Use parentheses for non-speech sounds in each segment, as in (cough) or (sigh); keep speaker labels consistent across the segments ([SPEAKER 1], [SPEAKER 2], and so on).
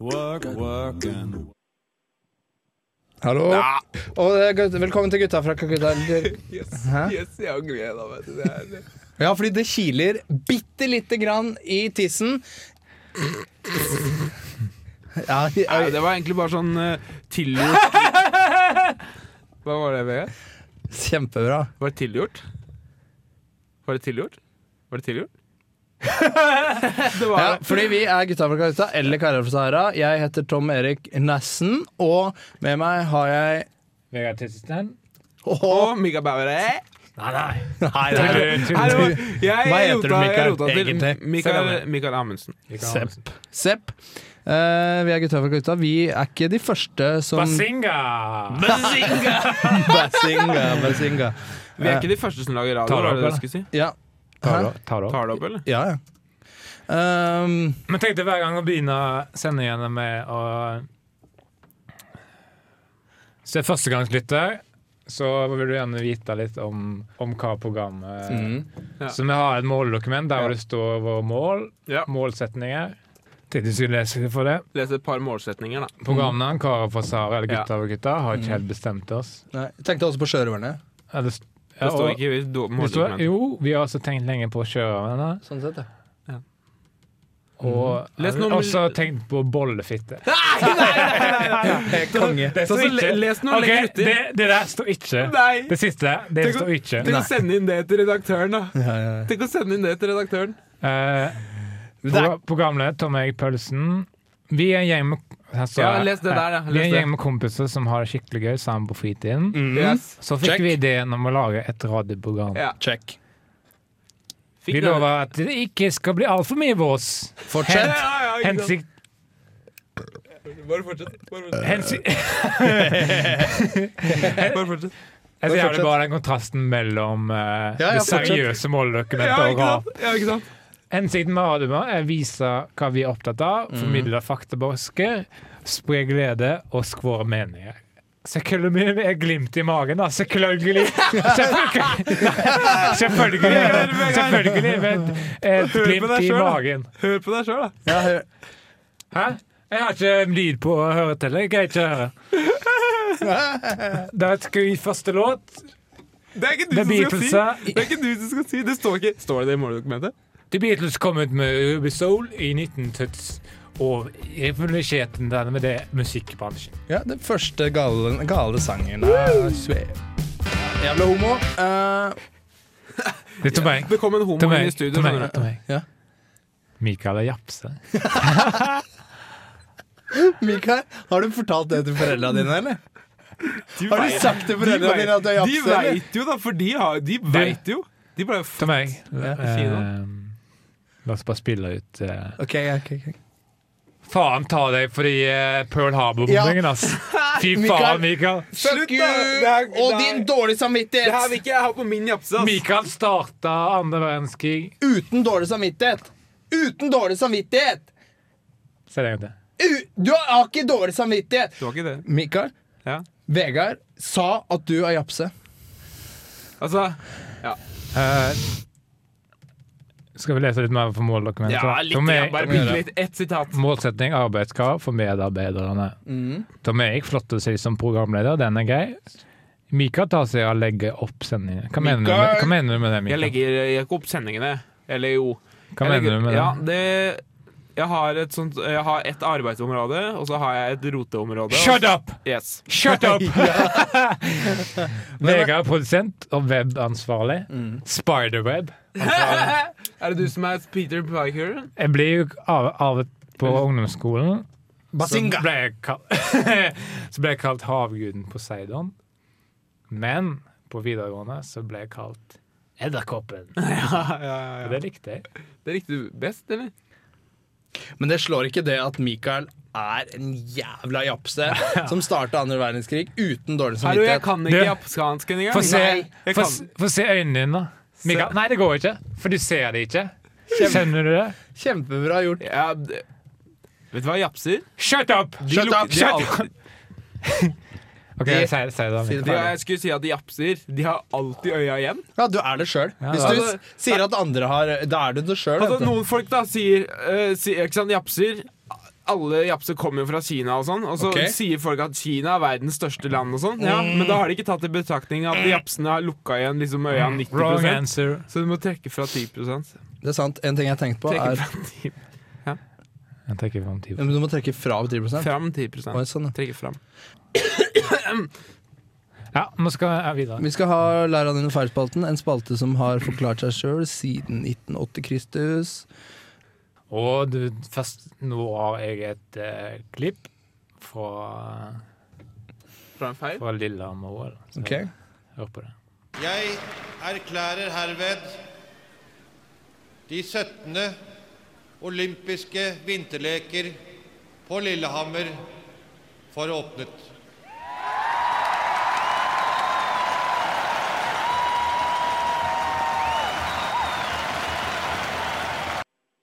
[SPEAKER 1] Work, work and
[SPEAKER 2] Hallo. Og eh, gutt- velkommen til gutta fra Kakutaler. Hæ?
[SPEAKER 3] (laughs) Yes, jeg angrer jeg da, vet du. Det er det.
[SPEAKER 2] (laughs) Ja, fordi det kiler bitte lite grann i tissen. Ja,
[SPEAKER 3] Nei,
[SPEAKER 2] jeg,
[SPEAKER 3] det var egentlig bare sånn uh, (laughs) tilgjort Hva var det, Vegard?
[SPEAKER 2] kjempebra.
[SPEAKER 3] Var det tilgjort? Var det tilgjort? Var det tilgjort? det var
[SPEAKER 2] Ja,
[SPEAKER 3] det.
[SPEAKER 2] fordi vi er gutta fra Kakutta, eller karer fra Sahara. Jeg heter Tom Erik Nessen, og med meg har jeg
[SPEAKER 4] Vegard Tissestein?
[SPEAKER 3] Og Mika Bauer.
[SPEAKER 4] Nei, nei.
[SPEAKER 2] Nei, det er
[SPEAKER 3] Hallo, jeg
[SPEAKER 2] Hva heter
[SPEAKER 3] rota-
[SPEAKER 2] du,
[SPEAKER 3] Jeg
[SPEAKER 2] Mikael,
[SPEAKER 3] rota
[SPEAKER 2] egentlig?
[SPEAKER 3] til Mikael, Mikael Amundsen.
[SPEAKER 2] Sepp. Sepp. Eh, vi er gutta fra Kakutta. Vi er ikke de første som
[SPEAKER 4] Basinga!
[SPEAKER 2] (laughs) Basinga, basinga.
[SPEAKER 3] Vi er ikke de første som lager radio,
[SPEAKER 4] Tar
[SPEAKER 3] var
[SPEAKER 4] det
[SPEAKER 3] det det
[SPEAKER 4] opp, eller?
[SPEAKER 3] du skulle si?
[SPEAKER 2] Ja.
[SPEAKER 4] Ta det
[SPEAKER 2] Hæ?
[SPEAKER 4] opp, ta det opp.
[SPEAKER 3] Tar det opp, eller?
[SPEAKER 2] Ja, ja. Ehm,
[SPEAKER 4] Men tenk deg hver gang å begynne sendingene med å Så er førstegangslytter, så vil du gjerne vite litt om, om hva programmet
[SPEAKER 2] mm.
[SPEAKER 3] Ja.
[SPEAKER 4] Så vi har et måldokument der hvor det står våre mål,
[SPEAKER 3] Ja.
[SPEAKER 4] målsetninger. Tenkte jeg skulle lese for det.
[SPEAKER 3] Les et par målsetninger, da.
[SPEAKER 4] Programnavn Kara fra Sara eller Gutta
[SPEAKER 3] Ja.
[SPEAKER 4] og gutta har ikke helt bestemt oss.
[SPEAKER 2] Nei, jeg tenkte også på sjørøverne.
[SPEAKER 4] Ja, det st- ja,
[SPEAKER 3] Det står
[SPEAKER 4] og-
[SPEAKER 3] ikke i do-
[SPEAKER 4] det står-
[SPEAKER 3] måldokumentet.
[SPEAKER 4] Jo, vi har også tenkt lenge på sjørøverne.
[SPEAKER 2] Sånn sett, ja.
[SPEAKER 4] Og
[SPEAKER 3] Mhm. Les
[SPEAKER 4] jeg
[SPEAKER 3] noe
[SPEAKER 4] har
[SPEAKER 3] om-
[SPEAKER 4] også tenkt på bollefitte.
[SPEAKER 3] (laughs)
[SPEAKER 2] Konge.
[SPEAKER 4] Det
[SPEAKER 3] Så le- les noen
[SPEAKER 4] Ok,
[SPEAKER 3] lenger uti.
[SPEAKER 4] det, det der står ikke.
[SPEAKER 3] Nei.
[SPEAKER 4] Det siste det
[SPEAKER 3] Tenk å-
[SPEAKER 4] står ikke.
[SPEAKER 3] Tenk å sende inn det til redaktøren, da.
[SPEAKER 2] Ja, ja, ja.
[SPEAKER 3] Tenk å sende inn det til redaktøren.
[SPEAKER 4] Eh,
[SPEAKER 2] Det
[SPEAKER 4] pro- programleder Tom Erik Pølsen. Vi er en gjeng med her står
[SPEAKER 3] Ja,
[SPEAKER 4] det.
[SPEAKER 3] les det der, ja.
[SPEAKER 4] Vi er
[SPEAKER 3] Les
[SPEAKER 4] en
[SPEAKER 3] det. Mm.
[SPEAKER 4] gjeng med kompiser som har det skikkelig gøy sammen på fritiden.
[SPEAKER 3] Yes.
[SPEAKER 4] Så fikk
[SPEAKER 2] Check.
[SPEAKER 4] vi ideen om å lage et radioprogram.
[SPEAKER 3] Ja.
[SPEAKER 2] Check.
[SPEAKER 4] Vi
[SPEAKER 3] Fikk det.
[SPEAKER 4] lover at det ikke skal bli altfor mye vås.
[SPEAKER 2] Fortsett.
[SPEAKER 3] Ja, ja, ikke sant.
[SPEAKER 4] Hensikt,
[SPEAKER 3] Bare fortsett. Bare fortsett.
[SPEAKER 4] hensikt,
[SPEAKER 3] Bare fortsett.
[SPEAKER 4] altså, jeg har
[SPEAKER 2] fortsett.
[SPEAKER 4] bare den kontrasten mellom eh,
[SPEAKER 2] Ja, ja,
[SPEAKER 4] det
[SPEAKER 2] fortsett.
[SPEAKER 4] seriøse
[SPEAKER 3] Ja,
[SPEAKER 4] måldokumentet og
[SPEAKER 3] ikke
[SPEAKER 4] rap.
[SPEAKER 3] sant? Ja, ikke sant?
[SPEAKER 4] Hensikten med radioen er å vise hva vi er opptatt av, formidle faktabosker, spre glede og skvåre meninger. Selvfølgelig med glimt i magen,
[SPEAKER 3] (laughs)
[SPEAKER 4] da. Selvfølgelig! Selvfølgelig! Nei, Selvfølgelig, selvfølgelig med et
[SPEAKER 3] Hør på
[SPEAKER 4] glimt
[SPEAKER 3] deg
[SPEAKER 4] i
[SPEAKER 3] selv, da.
[SPEAKER 4] magen.
[SPEAKER 3] Hør på deg sjøl, da.
[SPEAKER 2] Ja, hør.
[SPEAKER 4] Hæ? Jeg har ikke lyd på å høre til. Jeg greier ikke å
[SPEAKER 3] (laughs)
[SPEAKER 4] høre. Da skal vi første låt.
[SPEAKER 3] Det er ikke du
[SPEAKER 4] The
[SPEAKER 3] som
[SPEAKER 4] Beatles
[SPEAKER 3] skal
[SPEAKER 4] er-
[SPEAKER 3] si! Det er ikke du som skal si. Det står ikke Står det det i måledokumentet?
[SPEAKER 4] The Beatles kom ut med Ruby Soul i 1970, og revolusjonerte den med det musikkbransjen.
[SPEAKER 2] ja den første gale, gale sangen er Sve. Jævla homo. Eh,
[SPEAKER 4] Det er Tom Erik.
[SPEAKER 3] Det kom en homo inn i studio. skjønner du.
[SPEAKER 2] Ja.
[SPEAKER 4] Mikael er japse.
[SPEAKER 2] Mikael, har du fortalt det til foreldra (laughs) dine, eller?
[SPEAKER 3] De
[SPEAKER 2] Har du
[SPEAKER 3] vet-
[SPEAKER 2] sagt til foreldra
[SPEAKER 3] de vet-
[SPEAKER 2] dine at du er
[SPEAKER 3] De
[SPEAKER 2] japse? eller?
[SPEAKER 3] veit jo, da, for de, har, de veit jo. De ble jo f...
[SPEAKER 4] Til meg.
[SPEAKER 3] si det.
[SPEAKER 4] Ehm, La oss bare spille ut eh.
[SPEAKER 2] Ok, ok, ok.
[SPEAKER 4] Faen ta deg for de eh, Pearl Harbor-bombingen, ass!
[SPEAKER 3] (laughs)
[SPEAKER 4] Fy
[SPEAKER 2] Mikael.
[SPEAKER 4] faen, Mikael!
[SPEAKER 2] Fuck
[SPEAKER 3] Slutt,
[SPEAKER 2] you!
[SPEAKER 3] da! Det er-
[SPEAKER 2] Og
[SPEAKER 3] det er-
[SPEAKER 2] din dårlige
[SPEAKER 3] Det her vil
[SPEAKER 2] samvittighet!
[SPEAKER 3] ikke jeg ha på min japse, ass.
[SPEAKER 4] Mikael starta andre verdenskrig.
[SPEAKER 2] Uten dårlig samvittighet! Uten dårlig samvittighet!
[SPEAKER 4] Si det en gang til.
[SPEAKER 2] U- Du har ikke dårlig samvittighet!
[SPEAKER 3] Det var ikke det.
[SPEAKER 2] Mikael,
[SPEAKER 3] Ja.
[SPEAKER 2] Vegard sa at du er japse.
[SPEAKER 3] Altså
[SPEAKER 4] Eh, skal vi lese litt mer på måldokumentet?
[SPEAKER 3] Ja, litt.
[SPEAKER 4] Tom
[SPEAKER 3] Ja,
[SPEAKER 4] Erik-
[SPEAKER 3] bare bitte litt. Ett sitat.
[SPEAKER 4] Målsetting arbeidskrav for medarbeiderne.
[SPEAKER 3] Mm.
[SPEAKER 4] Tom Erik flotter seg som programleder, den er grei. Mikael tar seg av å legge opp sendingen. Hva mener, du med,
[SPEAKER 2] Mikael!
[SPEAKER 4] hva mener du med det,
[SPEAKER 3] Jeg
[SPEAKER 4] Mikael?
[SPEAKER 3] legger jeg legger ikke opp sendingene. Eller jo.
[SPEAKER 4] Hva
[SPEAKER 3] Jeg
[SPEAKER 4] mener
[SPEAKER 3] legger-
[SPEAKER 4] du med det?
[SPEAKER 3] Ja, det jeg har, et sånt, jeg har et arbeidsområde, og så har jeg et roteområde.
[SPEAKER 4] Shut up!
[SPEAKER 3] Yes.
[SPEAKER 4] Shut up! Vegard er produsent og webansvarlig.
[SPEAKER 3] Mm.
[SPEAKER 4] Spiderweb.
[SPEAKER 3] Er det du som er Peter Piker?
[SPEAKER 4] Jeg ble jo av, arvet på ungdomsskolen. Så ble jeg kalt, (laughs) så ble jeg kalt havguden Poseidon. Men på videregående så ble jeg kalt Edderkoppen. Og Det likte jeg.
[SPEAKER 3] Det likte du best, eller?
[SPEAKER 2] Men det slår ikke det at Mikael er en jævla
[SPEAKER 3] (laughs)
[SPEAKER 2] japse som starta andre verdenskrig uten dårlig
[SPEAKER 3] Hallo, jeg
[SPEAKER 2] samvittighet.
[SPEAKER 3] kan ikke
[SPEAKER 4] Du,
[SPEAKER 3] japskansk engang.
[SPEAKER 4] Få se,
[SPEAKER 3] Nei, jeg
[SPEAKER 4] få,
[SPEAKER 3] kan-
[SPEAKER 4] s- få se øynene dine. Mikael, nei, det går ikke, for du ser det ikke. Skjønner du det?
[SPEAKER 2] Kjempebra gjort.
[SPEAKER 3] Ja, det- vet du hva, japser?
[SPEAKER 4] Shut up!
[SPEAKER 3] De luk- de er
[SPEAKER 4] Shut up!
[SPEAKER 3] alltid-
[SPEAKER 4] Ok,
[SPEAKER 2] De-
[SPEAKER 4] si si det da.
[SPEAKER 2] Si det.
[SPEAKER 4] Mikkel.
[SPEAKER 3] De, jeg skulle si at de japser. De har alltid øya igjen.
[SPEAKER 2] Ja, du er det sjøl.
[SPEAKER 4] Ja,
[SPEAKER 2] Hvis
[SPEAKER 4] da-
[SPEAKER 2] du s- sier at andre har Da er du det sjøl.
[SPEAKER 3] Altså, noen folk da sier, eh, sier ikke sant, japser alle japser kommer jo fra Kina, og sånn Og så
[SPEAKER 2] Ok.
[SPEAKER 3] sier folk at Kina er verdens største land. og sånn ja,
[SPEAKER 4] Mm.
[SPEAKER 3] Men da har de ikke tatt i betraktning at de japsene har lukka igjen liksom øya
[SPEAKER 4] Mm. Wrong
[SPEAKER 3] 90
[SPEAKER 4] answer.
[SPEAKER 3] Så du må trekke fra 10
[SPEAKER 2] Det er sant. En ting jeg har tenkt på,
[SPEAKER 3] Trekke
[SPEAKER 2] er
[SPEAKER 3] fra 10,
[SPEAKER 4] Jeg tenker på om ti-
[SPEAKER 2] Ja, men Du må trekke fra 10
[SPEAKER 3] fram 10
[SPEAKER 2] Oi, sånn, ja.
[SPEAKER 3] Trekke fram.
[SPEAKER 4] Ja, nå skal jeg videre.
[SPEAKER 2] Vi skal ha Læra din feilspalten, en spalte som har forklart seg sjøl siden 1980 Kristus.
[SPEAKER 4] Og du, først nå har jeg et eh, klipp fra,
[SPEAKER 3] Fra en feil.
[SPEAKER 4] fra Lillehammer OL. Så
[SPEAKER 2] Ok.
[SPEAKER 4] Hør på det.
[SPEAKER 1] Jeg erklærer herved de 17. olympiske vinterleker på Lillehammer for åpnet.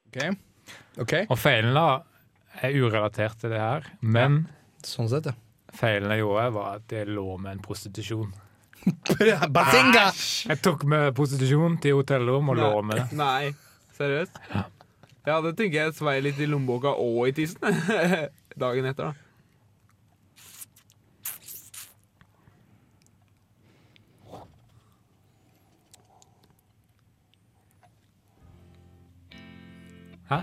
[SPEAKER 2] Ok. Ok.
[SPEAKER 4] Og feilen da er urelatert til det her, men
[SPEAKER 2] Sånn sett,
[SPEAKER 3] (laughs)
[SPEAKER 2] ja.
[SPEAKER 4] feilen jeg gjorde, var at jeg lå med en prostitusjon.
[SPEAKER 2] Bazinga!
[SPEAKER 4] Jeg tok med prostitusjon til hotellrom og lå med det.
[SPEAKER 3] Nei, seriøst? Ja, det tenker jeg svei litt i lommeboka og i tissen. (laughs) Dagen etter, da.
[SPEAKER 4] Hæ?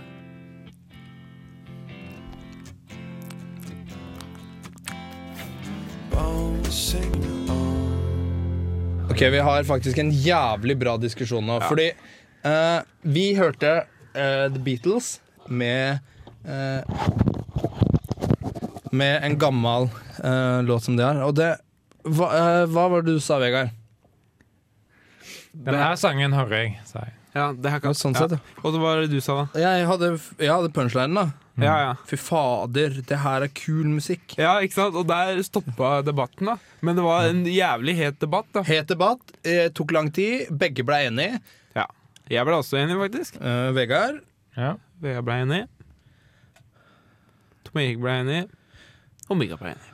[SPEAKER 2] Ok, vi har faktisk en jævlig bra diskusjon nå. Fordi eh, vi hørte eh, The Beatles med eh, Med en gammel eh, låt som de har. Og det hva, eh, hva var det du sa, Vegard?
[SPEAKER 4] Denne her sangen hører jeg, sa jeg.
[SPEAKER 3] Ja, det her
[SPEAKER 2] Ja,
[SPEAKER 3] kan
[SPEAKER 2] sånn sett, ja.
[SPEAKER 3] Og så hva var det du sa, da?
[SPEAKER 2] Jeg hadde, jeg hadde punchlinen, da.
[SPEAKER 4] Mm.
[SPEAKER 3] Ja, ja.
[SPEAKER 2] Fy fader, det her er kul musikk.
[SPEAKER 3] ja, ikke sant? Og der stoppa debatten, da. Men det var en jævlig het debatt, da.
[SPEAKER 2] Het debatt, eh, tok lang tid, begge ble enige.
[SPEAKER 3] Ja. Jeg ble også enig, faktisk.
[SPEAKER 2] Eh, Vegard
[SPEAKER 4] Ja.
[SPEAKER 3] Vegard ble enig. Tom Erik ble enig. Og Mikael ble enig.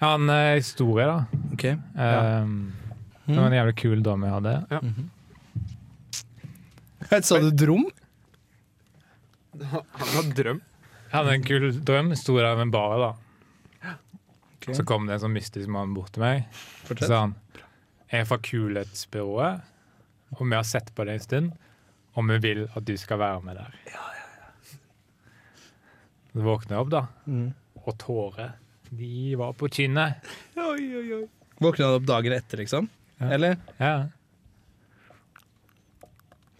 [SPEAKER 4] Han eh, historie, da.
[SPEAKER 2] Ok.
[SPEAKER 4] Ehm, Det var en
[SPEAKER 2] Mm.
[SPEAKER 4] jævlig kul dame jeg hadde.
[SPEAKER 2] (laughs) Sa du drom?
[SPEAKER 3] Han har drømt.
[SPEAKER 4] Jeg hadde en kul drøm. Sto der ved en bar, da. Så kom det en sånn mystisk mann bort til meg. Så sa han Jeg er fra Kulhetsbyrået, og vi har sett på deg en stund, og vi vil at du skal være med der. Så våkna jeg opp, da, og tårer De var på kinnet.
[SPEAKER 3] Oi, oi, oi.
[SPEAKER 2] Våkna du opp dagen etter, liksom? Eller?
[SPEAKER 4] Ja.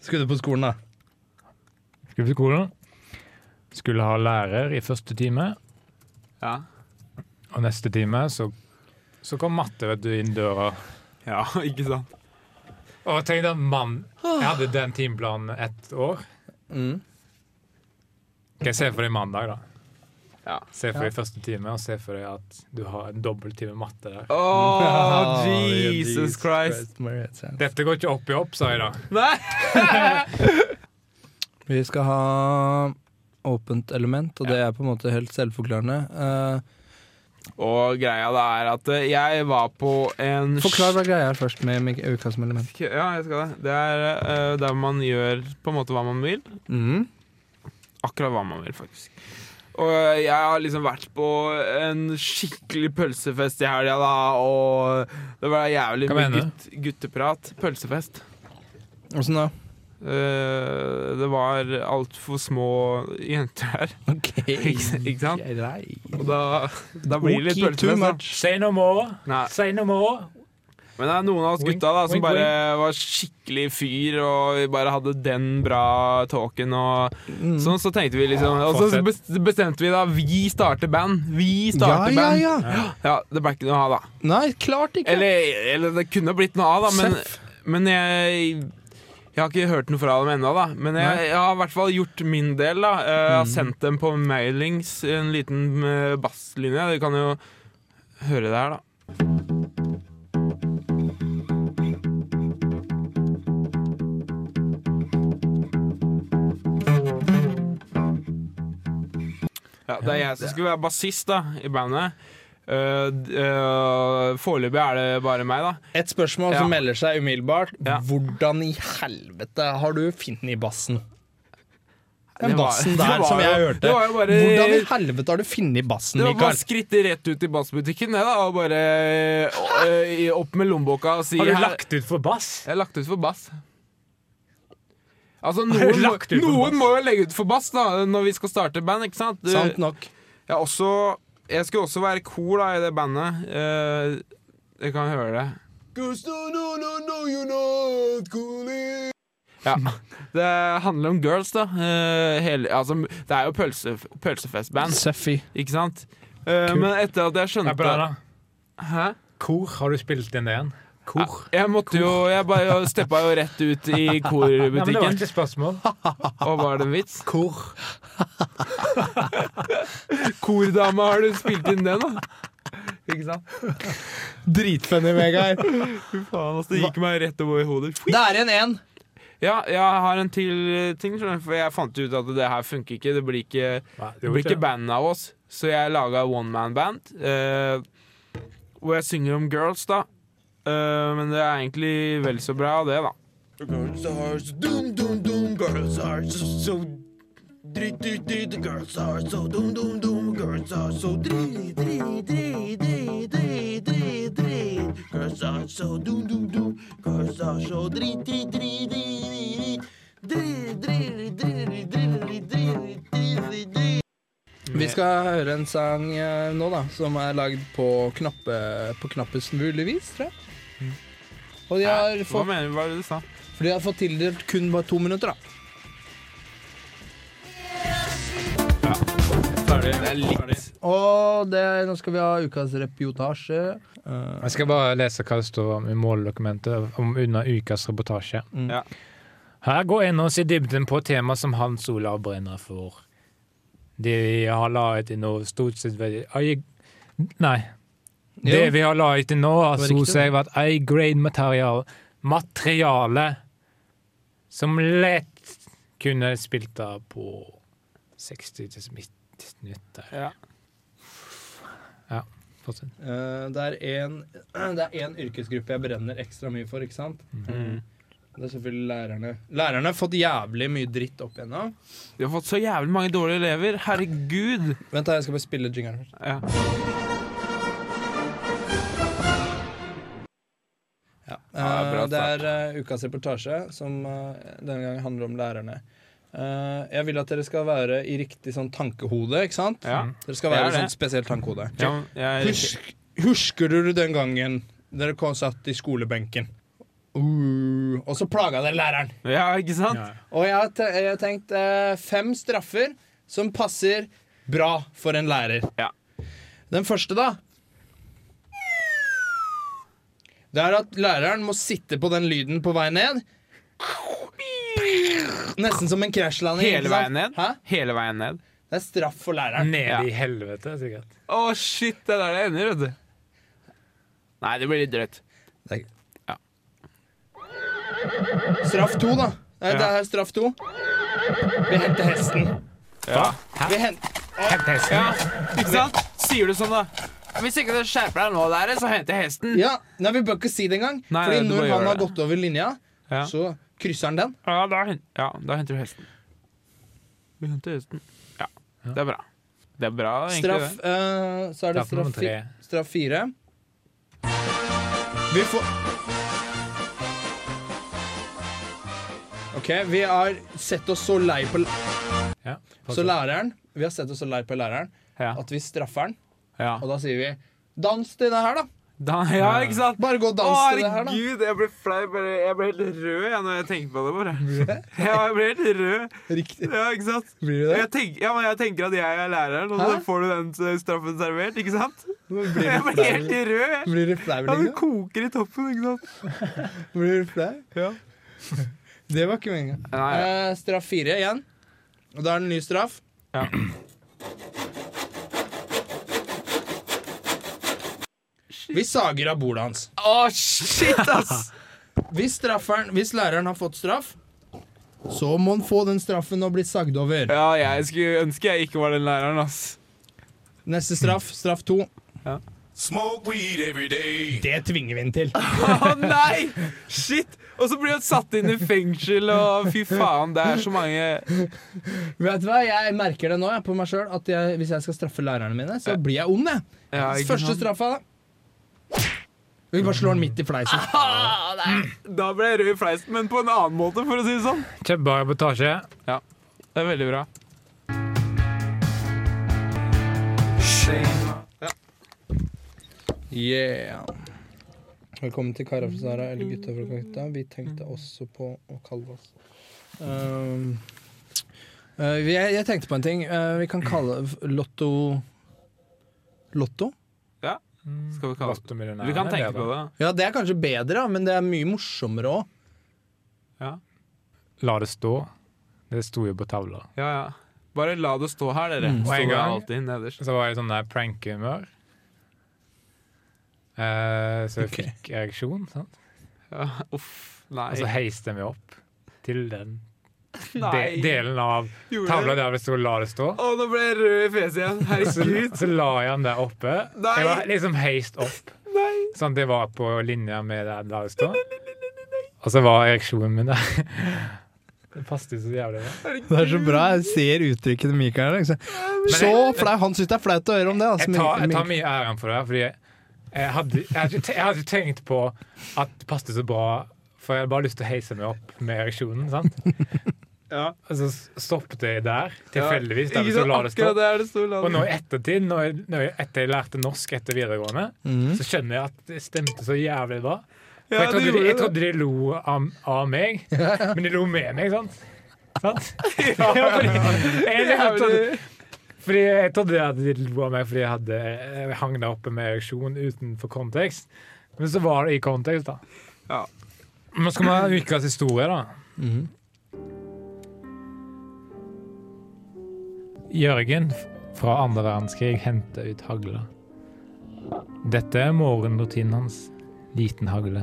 [SPEAKER 2] Skulle du på skolen, da?
[SPEAKER 4] Skulle på skolen. Skulle ha lærer i første time,
[SPEAKER 3] Ja.
[SPEAKER 4] og neste time så, så kom matte vet du, inn døra.
[SPEAKER 3] ja, (laughs) ikke sant?
[SPEAKER 4] Og jeg tenkte, mann, jeg hadde den timeplanen ett år.
[SPEAKER 2] Mm.
[SPEAKER 4] Ok, se for deg mandag, da.
[SPEAKER 3] Ja.
[SPEAKER 4] Se for deg første time, og se for deg at du har en dobbelttime matte der.
[SPEAKER 3] Å, Jesus Christ.
[SPEAKER 4] Dette går ikke opp i opp, sa jeg da.
[SPEAKER 3] Nei!
[SPEAKER 2] Vi skal ha åpent element, og det er på en måte helt selvforklarende. Eh,
[SPEAKER 3] Og greia da er at eh, jeg var på en
[SPEAKER 2] forklar hva greia er først med mik- uka som element.
[SPEAKER 3] Ja, jeg skal det. Det er eh, der man gjør på en måte hva man vil.
[SPEAKER 2] Mm.
[SPEAKER 3] Akkurat hva man vil, faktisk. Og jeg har liksom vært på en skikkelig pølsefest i helga, da, og det var jævlig
[SPEAKER 4] Hva
[SPEAKER 3] mye
[SPEAKER 4] mener du?
[SPEAKER 3] gutt, gutteprat. Pølsefest.
[SPEAKER 2] Åssen da?
[SPEAKER 3] Eh, det var altfor små jenter her, (laughs)
[SPEAKER 2] (laughs) Ok.
[SPEAKER 3] ikke, ikke sant?
[SPEAKER 2] Greit.
[SPEAKER 3] Og da, da blir det litt
[SPEAKER 2] Ok, too
[SPEAKER 3] pølsefest. da.
[SPEAKER 2] much.
[SPEAKER 4] Say no more,
[SPEAKER 3] Nei.
[SPEAKER 4] say no more.
[SPEAKER 3] Men det er noen av oss
[SPEAKER 4] Wink,
[SPEAKER 3] gutta da som
[SPEAKER 4] wink,
[SPEAKER 3] bare var skikkelig fyr, og vi bare hadde den bra talken og
[SPEAKER 2] Mm.
[SPEAKER 3] sånn. Så tenkte vi liksom Og så
[SPEAKER 4] fortsett.
[SPEAKER 3] bes- bestemte vi da vi starter band. Vi
[SPEAKER 2] Ja,
[SPEAKER 3] starter
[SPEAKER 2] ja,
[SPEAKER 3] band.
[SPEAKER 2] ja.
[SPEAKER 3] Ja, Det ble ikke noe av, da.
[SPEAKER 2] Nei, klart ikke.
[SPEAKER 3] Eller, eller det kunne blitt noe av, da, men,
[SPEAKER 2] Seff.
[SPEAKER 3] men jeg jeg har ikke hørt noe fra dem ennå, da. Men jeg, jeg har i hvert fall gjort min del. da Jeg har sendt dem på mailings en liten eh, basslinje. Du kan jo høre det her, da. Ja, det er jeg som skulle være bassist da, i bandet. Uh, d- uh, Foreløpig er det bare meg, da.
[SPEAKER 2] Et spørsmål
[SPEAKER 3] Ja.
[SPEAKER 2] som melder seg umiddelbart.
[SPEAKER 3] Ja.
[SPEAKER 2] Hvordan i helvete har du funnet bassen? Den
[SPEAKER 3] Det var-
[SPEAKER 2] bassen
[SPEAKER 3] det
[SPEAKER 2] der
[SPEAKER 3] var
[SPEAKER 2] som jeg
[SPEAKER 3] jo-
[SPEAKER 2] hørte.
[SPEAKER 3] det var jo bare-
[SPEAKER 2] Hvordan i helvete har du funnet bassen,
[SPEAKER 3] Det var bare å
[SPEAKER 2] Mikael?
[SPEAKER 3] skritte rett ut i bassbutikken det da, og bare uh, i- opp med lommeboka og si
[SPEAKER 4] Har du
[SPEAKER 3] her-
[SPEAKER 4] lagt ut for bass?
[SPEAKER 3] Jeg har lagt ut for bass.
[SPEAKER 4] (laughs)
[SPEAKER 3] Altså,
[SPEAKER 4] du
[SPEAKER 3] noen, må-
[SPEAKER 4] lagt ut for bass?
[SPEAKER 3] noen må jo legge ut for bass da, når vi skal starte band, ikke sant?
[SPEAKER 2] Sant nok.
[SPEAKER 3] Jeg, er også, jeg skulle også være cool da, i det bandet. Eh, jeg kan høre det. Ja. Det handler om girls, da. Eh, hele, altså, det er jo pølse, pølsefestband,
[SPEAKER 2] Suffy.
[SPEAKER 3] ikke sant? Eh, men etter at jeg
[SPEAKER 4] Det
[SPEAKER 3] skjønte
[SPEAKER 4] er bra, da.
[SPEAKER 3] Hæ?
[SPEAKER 4] Kor, har du spilt inn det igjen? Kor?
[SPEAKER 3] Jeg måtte jo Jeg bare steppa jo rett ut (laughs) i
[SPEAKER 4] Nei, men det var
[SPEAKER 3] korbutikken.
[SPEAKER 4] ikke et spørsmål.
[SPEAKER 3] Og var det en vits?
[SPEAKER 4] Kor.
[SPEAKER 3] (laughs) Kordama, har du spilt inn den, da? Ikke sant?
[SPEAKER 2] (laughs) Dritfunny, Vegard.
[SPEAKER 3] (laughs) Fy faen, altså, det gikk meg rett over hodet.
[SPEAKER 2] Det er igjen én.
[SPEAKER 3] Ja, jeg har en til eh, ting, skjønner du, for jeg fant ut at det her funker ikke. Det blir ikke, det blir ikke band av oss. Så jeg laga one man band, eh, hvor jeg synger om girls, da. Eh, men det er egentlig vel så bra, det, da.
[SPEAKER 5] Girls are so dum dum dum. Girls are so so. Dri, dri, dri. The girls are so dum dum dum. Girls are so dri dri dri dri dri dri dri. Girls are so dum dum dum. Girls are so dri dri dri dri dri dri dri dri dri dri dri dri.
[SPEAKER 2] Vi skal høre en sang eh, nå, da, som er lagd på, knappe, på knappest mulig vis, tror jeg. Og de har,
[SPEAKER 3] Hva
[SPEAKER 2] fått,
[SPEAKER 3] mener du? Hva er det du sa?
[SPEAKER 2] for de har fått tildelt kun bare to minutter, da.
[SPEAKER 3] Det er litt
[SPEAKER 2] Og det, nå skal vi ha ukas reportasje. Eh,
[SPEAKER 4] Jeg skal bare lese hva det står om i måldokumentet om under ukas reportasje.
[SPEAKER 2] Mm.
[SPEAKER 3] Ja.
[SPEAKER 4] Her går en av oss i dybden på tema som Hans Olav brenner for. Det vi har laget til nå, stort sett veldig Ai- Nei. Det
[SPEAKER 2] Jo.
[SPEAKER 4] vi har laget til nå, har
[SPEAKER 2] Det var
[SPEAKER 4] stort
[SPEAKER 2] riktig.
[SPEAKER 4] sett vært A-grade material, materiale som lett kunne spilt av på 60 til 90 minutter.
[SPEAKER 3] Ja.
[SPEAKER 4] Ja, fortsett.
[SPEAKER 2] Eh, det er en (clears throat) Det er en yrkesgruppe jeg brenner ekstra mye for, ikke sant?
[SPEAKER 3] Mm.
[SPEAKER 2] Det er selvfølgelig lærerne. Lærerne har fått jævlig mye dritt opp igjennom.
[SPEAKER 3] Vi har fått så jævlig mange dårlige elever. Herregud!
[SPEAKER 2] Vent, da, jeg skal bare spille jingeren først.
[SPEAKER 3] Ja.
[SPEAKER 2] Ja.
[SPEAKER 3] Ja,
[SPEAKER 2] Eh,
[SPEAKER 3] bra
[SPEAKER 2] det
[SPEAKER 3] start.
[SPEAKER 2] er eh, ukas reportasje, som eh, denne gangen handler om lærerne. Eh, jeg vil at dere skal være i riktig sånn tankehode, ikke sant?
[SPEAKER 3] ja.
[SPEAKER 2] Dere skal
[SPEAKER 3] Det er
[SPEAKER 2] være i
[SPEAKER 3] det.
[SPEAKER 2] sånn spesielt tankehode.
[SPEAKER 3] ja jeg,
[SPEAKER 2] Husk, husker du den gangen dere kom satt i skolebenken? Uh, og så plaga dere læreren.
[SPEAKER 3] ja, ikke sant?
[SPEAKER 2] Og jeg har, te jeg har tenkt eh, fem straffer som passer bra for en lærer.
[SPEAKER 3] Ja.
[SPEAKER 2] Den første, da Det er at læreren må sitte på den lyden på vei ned. Nesten som en krasjlanding.
[SPEAKER 3] Hele
[SPEAKER 2] ikke sant?
[SPEAKER 3] veien ned.
[SPEAKER 2] Hæ?
[SPEAKER 3] Hele veien ned.
[SPEAKER 2] Det er straff for læreren.
[SPEAKER 4] Nede
[SPEAKER 3] Ja.
[SPEAKER 4] i helvete, sikkert.
[SPEAKER 3] Å, shit! Det er der det ender, vet du. Nei, det blir litt drøyt.
[SPEAKER 2] Straff to, da. Nei,
[SPEAKER 3] Ja.
[SPEAKER 2] Det er straff to. Vi henter hesten.
[SPEAKER 3] Ja.
[SPEAKER 2] Vi hent
[SPEAKER 3] ja, ikke sant? Sier du sånn, da? Hvis ikke du skjerper deg nå, der, så henter jeg hesten.
[SPEAKER 2] ja. Nei, vi bør ikke si det engang.
[SPEAKER 3] Nei,
[SPEAKER 2] Fordi
[SPEAKER 3] nei, du
[SPEAKER 2] når
[SPEAKER 3] bare gjør
[SPEAKER 2] han har
[SPEAKER 3] det.
[SPEAKER 2] gått over linja,
[SPEAKER 3] Ja.
[SPEAKER 2] så krysser han den.
[SPEAKER 3] Ja, da, hen- ja, da henter du hesten. Vi henter hesten. Ja, det er bra. Det er bra, egentlig.
[SPEAKER 2] Straff, eh, så er det
[SPEAKER 4] Straff nummer
[SPEAKER 2] straff, fi-
[SPEAKER 4] tre.
[SPEAKER 2] straff fire. Vi får OK, vi har sett oss så lei på,
[SPEAKER 4] Ja,
[SPEAKER 2] så
[SPEAKER 4] fortsett.
[SPEAKER 2] læreren, vi har sett oss så lei på læreren
[SPEAKER 3] det. Ja.
[SPEAKER 2] at vi straffer han,
[SPEAKER 3] Ja.
[SPEAKER 2] og da sier vi Dans til det her, da!
[SPEAKER 3] Da, ja, ikke sant?
[SPEAKER 2] Bare gå
[SPEAKER 3] Å,
[SPEAKER 2] og dans til det her, da.
[SPEAKER 3] herregud, jeg ble flau. bare- Jeg ble helt rød jeg, når jeg tenker på det. bare (laughs) Ja, jeg ble helt rød.
[SPEAKER 2] Riktig.
[SPEAKER 3] Ja, ikke sant?
[SPEAKER 2] Blir det det?
[SPEAKER 3] Jeg tenk, ja, men jeg tenker at jeg er læreren, og så
[SPEAKER 2] Hæ?
[SPEAKER 3] får du den eh, straffen servert, ikke sant?
[SPEAKER 2] Blir
[SPEAKER 3] Jeg
[SPEAKER 2] du
[SPEAKER 3] ble
[SPEAKER 2] flau?
[SPEAKER 3] helt rød. jeg.
[SPEAKER 2] Blir liksom? du flau,
[SPEAKER 3] Ja, det
[SPEAKER 2] Linda?
[SPEAKER 3] koker i toppen, ikke sant?
[SPEAKER 2] Blir du flau?
[SPEAKER 3] Ja.
[SPEAKER 2] (laughs) Det var ikke meninga.
[SPEAKER 3] Nei, ja.
[SPEAKER 2] Eh, straff fire igjen. Og da er det en ny straff.
[SPEAKER 3] Ja.
[SPEAKER 2] Vi sager av bordet hans.
[SPEAKER 3] Å, shit, ass!
[SPEAKER 2] Hvis, strafferen, hvis læreren har fått straff, så må han få den straffen og bli sagd over.
[SPEAKER 3] Ja, jeg skulle ønske jeg ikke var den læreren, ass.
[SPEAKER 2] Neste straff, straff to.
[SPEAKER 6] Smoke weed every day.
[SPEAKER 2] Det tvinger vi inn til.
[SPEAKER 3] Å nei! Shit! Og så blir han satt inn i fengsel, og fy faen, det er så mange
[SPEAKER 2] Vet du hva, Jeg merker det nå jeg, på meg sjøl at jeg, hvis jeg skal straffe lærerne mine, så blir jeg ond. jeg.
[SPEAKER 3] Ja, ikke
[SPEAKER 2] Første
[SPEAKER 3] sant?
[SPEAKER 2] straffa Vi bare slår den midt i fleisen.
[SPEAKER 3] Da ble jeg rød i fleisen, men på en annen måte, for å si det sånn.
[SPEAKER 4] Kjempebra reportasje.
[SPEAKER 3] Det er veldig bra.
[SPEAKER 2] Yeah. Velkommen til Kara fra Sara eller Gutta fra Kakta. Vi tenkte også på å kalle oss um, eh, vi- jeg, jeg tenkte på en ting. Eh, vi kan kalle f- Lotto Lotto?
[SPEAKER 3] Skal vi kalle det
[SPEAKER 4] Lottomillionærene,
[SPEAKER 3] Vi kan tenke
[SPEAKER 4] det er
[SPEAKER 3] på
[SPEAKER 4] bra.
[SPEAKER 3] det.
[SPEAKER 2] Ja, det er kanskje bedre, da, men det er mye morsommere òg.
[SPEAKER 3] Ja,
[SPEAKER 4] La det stå. Det sto jo på tavla.
[SPEAKER 3] ja. ja. Bare la det stå her, dere.
[SPEAKER 4] Og
[SPEAKER 3] Stå
[SPEAKER 4] Mm.
[SPEAKER 3] der
[SPEAKER 4] en gang-
[SPEAKER 3] alltid nederst.
[SPEAKER 4] Så var jeg i sånn der prank-humør. Eh, så jeg
[SPEAKER 2] Ok.
[SPEAKER 4] fikk ereksjon, sant?
[SPEAKER 3] Ja, uff. Nei.
[SPEAKER 4] og så heiste jeg meg opp til den de
[SPEAKER 3] Nei.
[SPEAKER 4] delen av
[SPEAKER 3] Gjorde det?
[SPEAKER 4] tavla der det sto 'la det stå'.
[SPEAKER 3] Å, nå ble jeg rød i fjeset igjen. Herregud.
[SPEAKER 4] Og så la jeg den der oppe.
[SPEAKER 3] Nei.
[SPEAKER 4] Jeg var liksom heist opp,
[SPEAKER 3] Nei.
[SPEAKER 4] sånn at jeg var på linja med der 'la det stå'. Og så var ereksjonen min der. (laughs) Det passet jo så jævlig bra.
[SPEAKER 2] Det er så bra. Jeg ser uttrykket til Mikael. Liksom. Så flau. Han syns det er flaut å høre om det. Altså,
[SPEAKER 4] jeg tar, jeg tar
[SPEAKER 2] Mikael.
[SPEAKER 4] mye æren for det her, fordi jeg, jeg, hadde, jeg, hadde, ikke te- jeg hadde ikke tenkt på at det passet så bra, for jeg hadde bare lyst til å heise meg opp med ereksjonen, sant?
[SPEAKER 3] (laughs) Ja.
[SPEAKER 4] Og så stoppet jeg der, tilfeldigvis,
[SPEAKER 3] Ja,
[SPEAKER 4] der
[SPEAKER 3] ikke
[SPEAKER 4] vi så
[SPEAKER 3] sant?
[SPEAKER 4] la det stå.
[SPEAKER 3] Akkurat der det sto. la
[SPEAKER 4] Og
[SPEAKER 3] det
[SPEAKER 4] nå i ettertid, når jeg, når jeg, etter jeg lærte norsk etter videregående, så skjønner jeg at det stemte så jævlig bra. For
[SPEAKER 3] Ja,
[SPEAKER 4] jeg,
[SPEAKER 3] det
[SPEAKER 4] trodde,
[SPEAKER 3] gjorde
[SPEAKER 4] de- jeg
[SPEAKER 3] det.
[SPEAKER 4] trodde de lo av, av meg, men de lo med meg, sant?
[SPEAKER 3] (laughs)
[SPEAKER 4] Sant? (laughs) Ja, fordi, jeg, jeg trodde,
[SPEAKER 3] Jævlig.
[SPEAKER 4] Fordi Jeg trodde at de lo av meg fordi jeg, hadde, jeg hang der oppe med ereksjon utenfor kontekst. Men så var det i kontekst, da.
[SPEAKER 3] Ja.
[SPEAKER 4] Men skal vi ha ukas historie, da? Jørgen fra andre verdenskrig henter ut hagla. Dette er morgenrutinen hans. Liten hagle.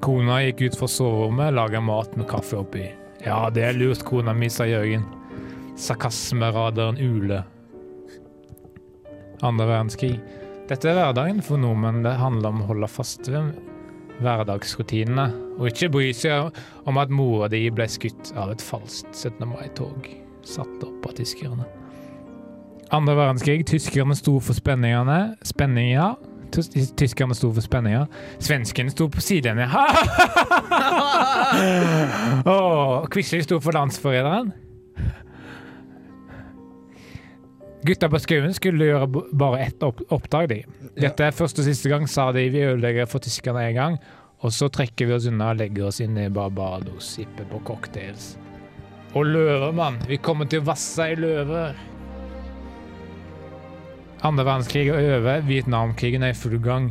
[SPEAKER 4] Kona gikk ut fra soverommet, laga mat med kaffe oppi. Ja, det er lurt, kona mi, sa Jørgen. Sarkasmeradaren Ule. Andre verdenskrig. Dette er hverdagen for nordmenn. Det handler om å holde fast ved hverdagsrutinene, og ikke bry seg om at mora di ble skutt av et falskt 17. mai-tog satt opp av tyskerne. Andre verdenskrig. Tyskerne sto for spenningene. Spenninga. Tys- Tyskerne sto for spenninga. Svenskene sto på sidelinja. (laughs) Åh, Quisling sto for landsforræderen. Gutta på skauen skulle gjøre b- bare ett opp oppdrag, de. Dette er første og siste gang, sa de. Vi ødelegger for tyskerne en gang. Og så trekker vi oss unna og legger oss inn i Barbados, sipper på cocktails. Og løver, mann. Vi kommer til å vasse i løver. Andre verdenskrig er over, Vietnamkrigen er i full gang.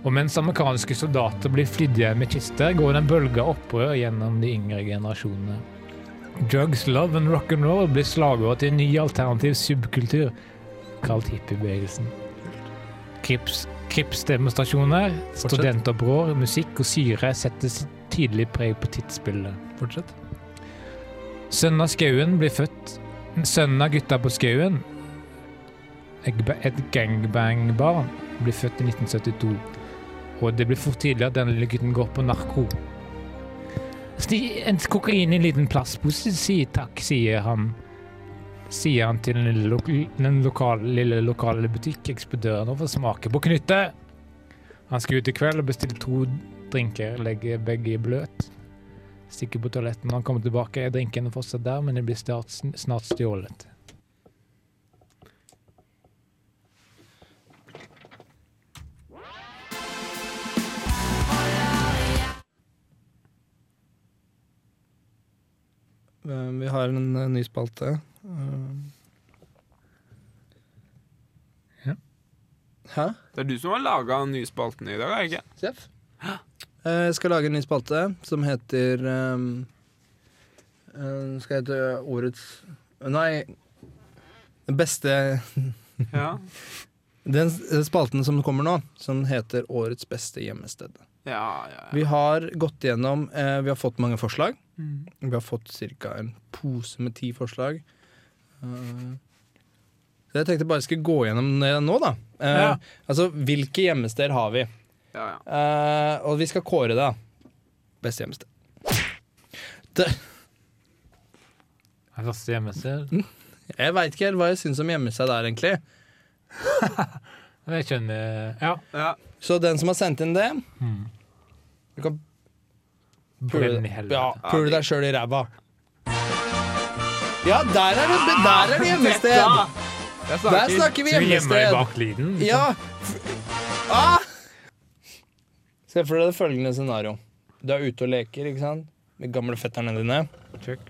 [SPEAKER 4] Og mens amerikanske soldater blir flidd igjen med kister, går det en bølge av opprør gjennom de yngre generasjonene. Drugs, love and rock'n'roll blir slagordet til en ny alternativ subkultur, kalt hippiebevegelsen. Krips, Krips-demonstrasjoner, studentopprør, musikk og syre setter sitt tydelige preg på tidsbildet. Fortsett. Sønnen av Skauen blir født. Sønnen av gutta på Skauen, Egbe- et gangbang-barn, blir født i 1972. Og det blir fort tydelig at denne lille gutten går på narko. Sti, en kokain i en liten plastpose, si takk, sier han. Sier han til den lille, lok den lokale, lille lokale butikkekspedøren og får smake på knyttet. Han skal ut i kveld og bestille to drinker, legger begge i bløt. Stikker på toalettet når han kommer tilbake, er drinkene fortsatt der, men de blir snart, snart stjålet.
[SPEAKER 2] Eh, Vi har en eh, ny spalte. Eh.
[SPEAKER 4] Ja.
[SPEAKER 2] Hæ?
[SPEAKER 3] Det er du som har laga nyspalten i dag, er det
[SPEAKER 4] (laughs)
[SPEAKER 3] ikke?
[SPEAKER 2] Seff? Eh, Jeg skal lage en ny spalte som heter um, Skal hete Årets Nei, den beste
[SPEAKER 3] Ja.
[SPEAKER 2] Den s- spalten som kommer nå, som heter Årets beste gjemmested.
[SPEAKER 3] Ja, ja, ja.
[SPEAKER 2] Vi har gått gjennom eh, Vi har fått mange forslag. Vi har fått ca. en pose med ti forslag. Eh, Så jeg tenkte bare jeg skulle gå gjennom det nå, da. Eh,
[SPEAKER 3] Ja.
[SPEAKER 2] Altså, hvilke gjemmesteder har vi?
[SPEAKER 3] Ja, ja.
[SPEAKER 2] Eh, og vi skal kåre det. da. Beste gjemmested. Det,
[SPEAKER 4] Er det Første hjemmested?
[SPEAKER 2] jeg veit ikke helt hva jeg syns om gjemmested der, egentlig.
[SPEAKER 4] Jeg skjønner Ja.
[SPEAKER 3] Ja.
[SPEAKER 2] Så den som har sendt inn det Du kan pule,
[SPEAKER 4] Brenn i helvete.
[SPEAKER 2] ja, pule deg sjøl i ræva. Ja, der er det, der er det gjemmested!
[SPEAKER 3] Jeg
[SPEAKER 2] Der
[SPEAKER 3] snakker.
[SPEAKER 2] snakker vi
[SPEAKER 4] Skal vi gjemme deg
[SPEAKER 2] gjemmested.
[SPEAKER 4] bak lyden?
[SPEAKER 2] Ja ah! Se for deg det følgende scenario. Du er ute og leker ikke sant? med gamle fetterne dine.
[SPEAKER 4] Check.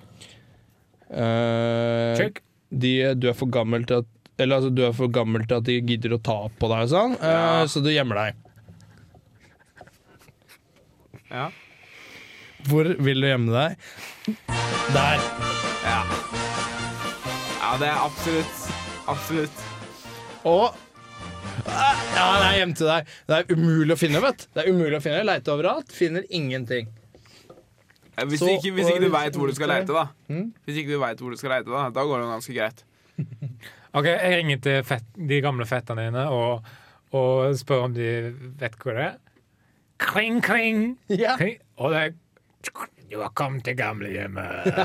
[SPEAKER 2] Eh,
[SPEAKER 4] Check.
[SPEAKER 2] de, du er for gammel til at eller altså, du er for gammel til at de gidder å ta på deg, og sånn, eh,
[SPEAKER 3] Ja.
[SPEAKER 2] så du gjemmer deg.
[SPEAKER 3] Ja.
[SPEAKER 2] Hvor vil du gjemme deg? Der.
[SPEAKER 3] ja, det er absolutt. Absolutt.
[SPEAKER 2] Og Ah, Ja, det er hjem til deg. Det er umulig å finne, vet du. Det er umulig å finne. Jeg leter overalt, finner ingenting.
[SPEAKER 3] Ja, Hvis,
[SPEAKER 2] Så- Mm.
[SPEAKER 3] ikke, hvis ikke du
[SPEAKER 2] og-
[SPEAKER 3] veit hvor du skal leite, da. Hvis ikke du vet hvor du skal leite, da, da går det ganske greit.
[SPEAKER 4] OK, jeg ringer til fett, de gamle fetterne dine og, og spør om de vet hvor det er. Kling, kling!
[SPEAKER 2] Ja.
[SPEAKER 4] kling. Og det er Du har kommet
[SPEAKER 2] (laughs)
[SPEAKER 4] til (laughs) gamlehjemmet. De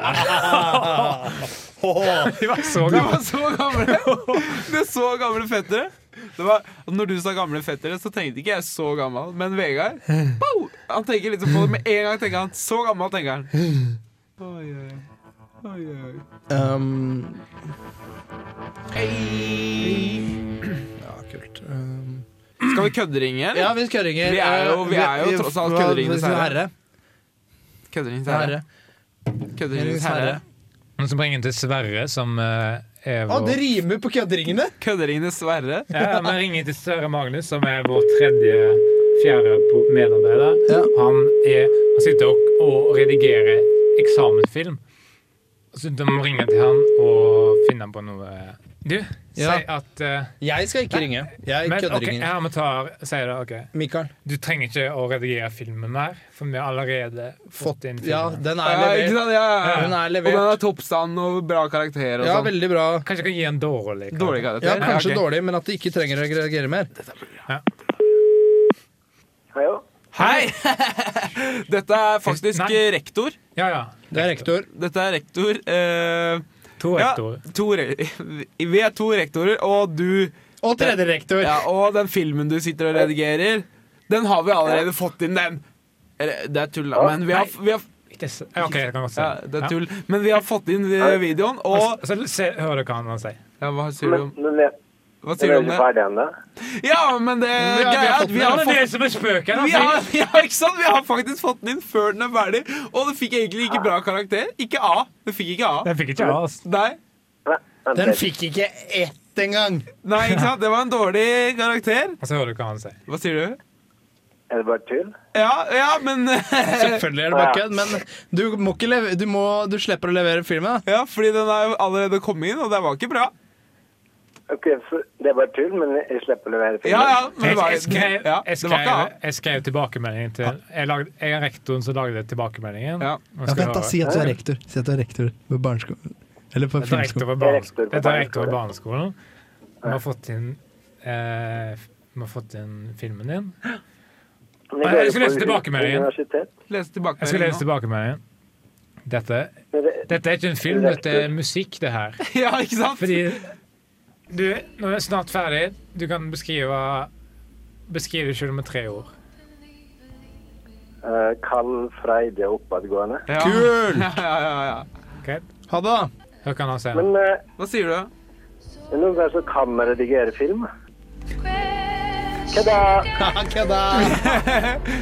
[SPEAKER 4] var så
[SPEAKER 3] Det var
[SPEAKER 4] gamle.
[SPEAKER 3] så gamle Det er så gamle fettere. Det var, når du sa gamle fettere, så tenkte ikke jeg så gammel. Men Vegard pow! Han tenker liksom på det med en gang. tenker han Så gammel, tenker han. Oi, oi. Oi, oi. Ehm,
[SPEAKER 2] Um, ja, kult. Um,
[SPEAKER 3] Skal vi kødderinge, eller?
[SPEAKER 2] ja, vi skøringer.
[SPEAKER 3] Vi er jo- vi er jo tross alt kødderingenes
[SPEAKER 2] herre.
[SPEAKER 3] herre. Kødderingens herre.
[SPEAKER 2] herre.
[SPEAKER 3] Kødderingens herre.
[SPEAKER 4] Men så bringer jeg til Sverre, som eh, er
[SPEAKER 2] Å, det
[SPEAKER 4] vår
[SPEAKER 2] rimer på kødderingene!
[SPEAKER 3] Kødderingenes herre.
[SPEAKER 4] Ja, men ringer til Sverre Magnus, som er vår tredje, fjerde po- medarbeider.
[SPEAKER 2] Ja.
[SPEAKER 4] Han, er, han sitter og, og redigerer eksamensfilm. Så de må ringe til han og finne på noe Du,
[SPEAKER 2] Ja.
[SPEAKER 4] si at eh,
[SPEAKER 2] Jeg skal ikke ringe. Jeg
[SPEAKER 4] men, ok,
[SPEAKER 2] kødderinger.
[SPEAKER 4] ja, men tar, sier det, ok.
[SPEAKER 2] Mikael.
[SPEAKER 4] Du trenger ikke å redigere filmen mer, for vi har allerede fått inn
[SPEAKER 2] Ja,
[SPEAKER 4] filmen.
[SPEAKER 2] den er
[SPEAKER 3] Ja, ikke
[SPEAKER 2] levert.
[SPEAKER 3] sant? Ja, ja,
[SPEAKER 2] Hun
[SPEAKER 3] ja.
[SPEAKER 2] er
[SPEAKER 3] Og den
[SPEAKER 2] levert.
[SPEAKER 3] har toppstand og bra karakter og
[SPEAKER 2] Ja,
[SPEAKER 3] sånn.
[SPEAKER 2] veldig bra.
[SPEAKER 4] Kanskje jeg kan gi en dårlig karakter.
[SPEAKER 3] Dårlig karakter.
[SPEAKER 2] Ja,
[SPEAKER 3] Ja,
[SPEAKER 2] kanskje
[SPEAKER 3] ok.
[SPEAKER 2] dårlig, men at de ikke trenger å reagere mer.
[SPEAKER 7] Hallo?
[SPEAKER 3] Hei!
[SPEAKER 2] (laughs)
[SPEAKER 3] Dette er faktisk
[SPEAKER 4] Nei.
[SPEAKER 3] eh, rektor.
[SPEAKER 4] Ja, ja.
[SPEAKER 2] Det er rektor.
[SPEAKER 3] Dette er rektor. eh,
[SPEAKER 4] To
[SPEAKER 3] ja,
[SPEAKER 4] rektorer.
[SPEAKER 3] to re (laughs) vi er to rektorer, og du
[SPEAKER 2] Og tredje rektor.
[SPEAKER 3] (laughs) ja, Og den filmen du sitter og redigerer, den har vi allerede fått inn, den. Eller, Det er tull, da. Men vi har, vi har
[SPEAKER 4] Ikke s- ja, OK, jeg kan godt si
[SPEAKER 3] ja, det er tull. Men vi har fått inn eh, videoen, og
[SPEAKER 4] Så, så se, hører du hva han sier.
[SPEAKER 3] ja, Hva sier du
[SPEAKER 7] Men,
[SPEAKER 3] om,
[SPEAKER 7] men jeg,
[SPEAKER 3] hva
[SPEAKER 7] jeg
[SPEAKER 3] sier
[SPEAKER 7] er
[SPEAKER 3] du om
[SPEAKER 7] ikke
[SPEAKER 3] det?
[SPEAKER 7] ferdig altså. ennå.
[SPEAKER 3] Ja, men det
[SPEAKER 2] vi har
[SPEAKER 3] greia er at
[SPEAKER 2] fått
[SPEAKER 3] vi
[SPEAKER 2] den.
[SPEAKER 3] har
[SPEAKER 4] det er
[SPEAKER 3] fått
[SPEAKER 4] det som er spøken!
[SPEAKER 3] vi
[SPEAKER 4] altså.
[SPEAKER 3] har, (laughs) ja, ikke sant? Vi har faktisk fått den inn før den er ferdig, og det fikk egentlig ikke bra karakter. Ikke A. Det fikk ikke A.
[SPEAKER 4] Den fikk ikke av oss.
[SPEAKER 3] Nei.
[SPEAKER 7] Nei, vent
[SPEAKER 2] Den
[SPEAKER 7] litt.
[SPEAKER 2] fikk ikke ett engang.
[SPEAKER 3] Nei, ikke sant? Det var en dårlig karakter.
[SPEAKER 4] Og så hører du hva han sier.
[SPEAKER 3] Hva sier du?
[SPEAKER 7] Er det bare tull?
[SPEAKER 3] Ja, ja, men (laughs)
[SPEAKER 2] Selvfølgelig er det bare kødd, men du, må ikke leve, du, må, du slipper å levere filmen. da.
[SPEAKER 3] Ja, fordi den er jo allerede kommet inn, og det var ikke bra.
[SPEAKER 7] Ok, så det er bare tull, men jeg slipper å levere filmen.
[SPEAKER 3] Ja, ja, men det
[SPEAKER 4] Jeg,
[SPEAKER 3] var,
[SPEAKER 4] jeg, skrev,
[SPEAKER 3] ja,
[SPEAKER 4] jeg,
[SPEAKER 3] det var
[SPEAKER 4] skrev,
[SPEAKER 3] ikke A.
[SPEAKER 4] jeg skrev tilbakemeldingen til Jeg, lagde, jeg er rektoren som lagde tilbakemeldingen.
[SPEAKER 3] Ja.
[SPEAKER 4] Nå skal jeg høre.
[SPEAKER 2] at du er rektor. Si at du er rektor ved barneskolen. Eller på
[SPEAKER 4] Dette er rektor ved
[SPEAKER 7] Jeg er rektor på
[SPEAKER 4] barneskolen. Dette er rektor ved barneskolen. Vi har fått inn eh, Vi har fått inn filmen din.
[SPEAKER 7] Men
[SPEAKER 4] Nei,
[SPEAKER 7] går
[SPEAKER 4] jeg skal
[SPEAKER 7] jo på
[SPEAKER 4] lese tilbakemeldingen.
[SPEAKER 7] universitet.
[SPEAKER 3] Les
[SPEAKER 4] Jeg skal lese
[SPEAKER 3] tilbakemeldingen nå.
[SPEAKER 4] tilbakemeldingen. Dette,
[SPEAKER 7] Men det-
[SPEAKER 4] dette er ikke en film, dette er musikk, det her.
[SPEAKER 3] (laughs) Ja, ikke sant?
[SPEAKER 4] Fordi du, nå er jeg snart ferdig. Du kan beskrive Beskrive deg selv med tre ord.
[SPEAKER 7] eh, Kald, freidig og oppadgående.
[SPEAKER 3] Ja.
[SPEAKER 2] Kul!
[SPEAKER 3] (laughs) Ja, ja, ja, ja.
[SPEAKER 4] Ok?
[SPEAKER 2] Ha det, da.
[SPEAKER 4] Hør hva han sier.
[SPEAKER 7] Men eh,
[SPEAKER 3] Hva sier du?
[SPEAKER 7] noen ganger så kan man redigere film. Hva da?
[SPEAKER 2] Kødda!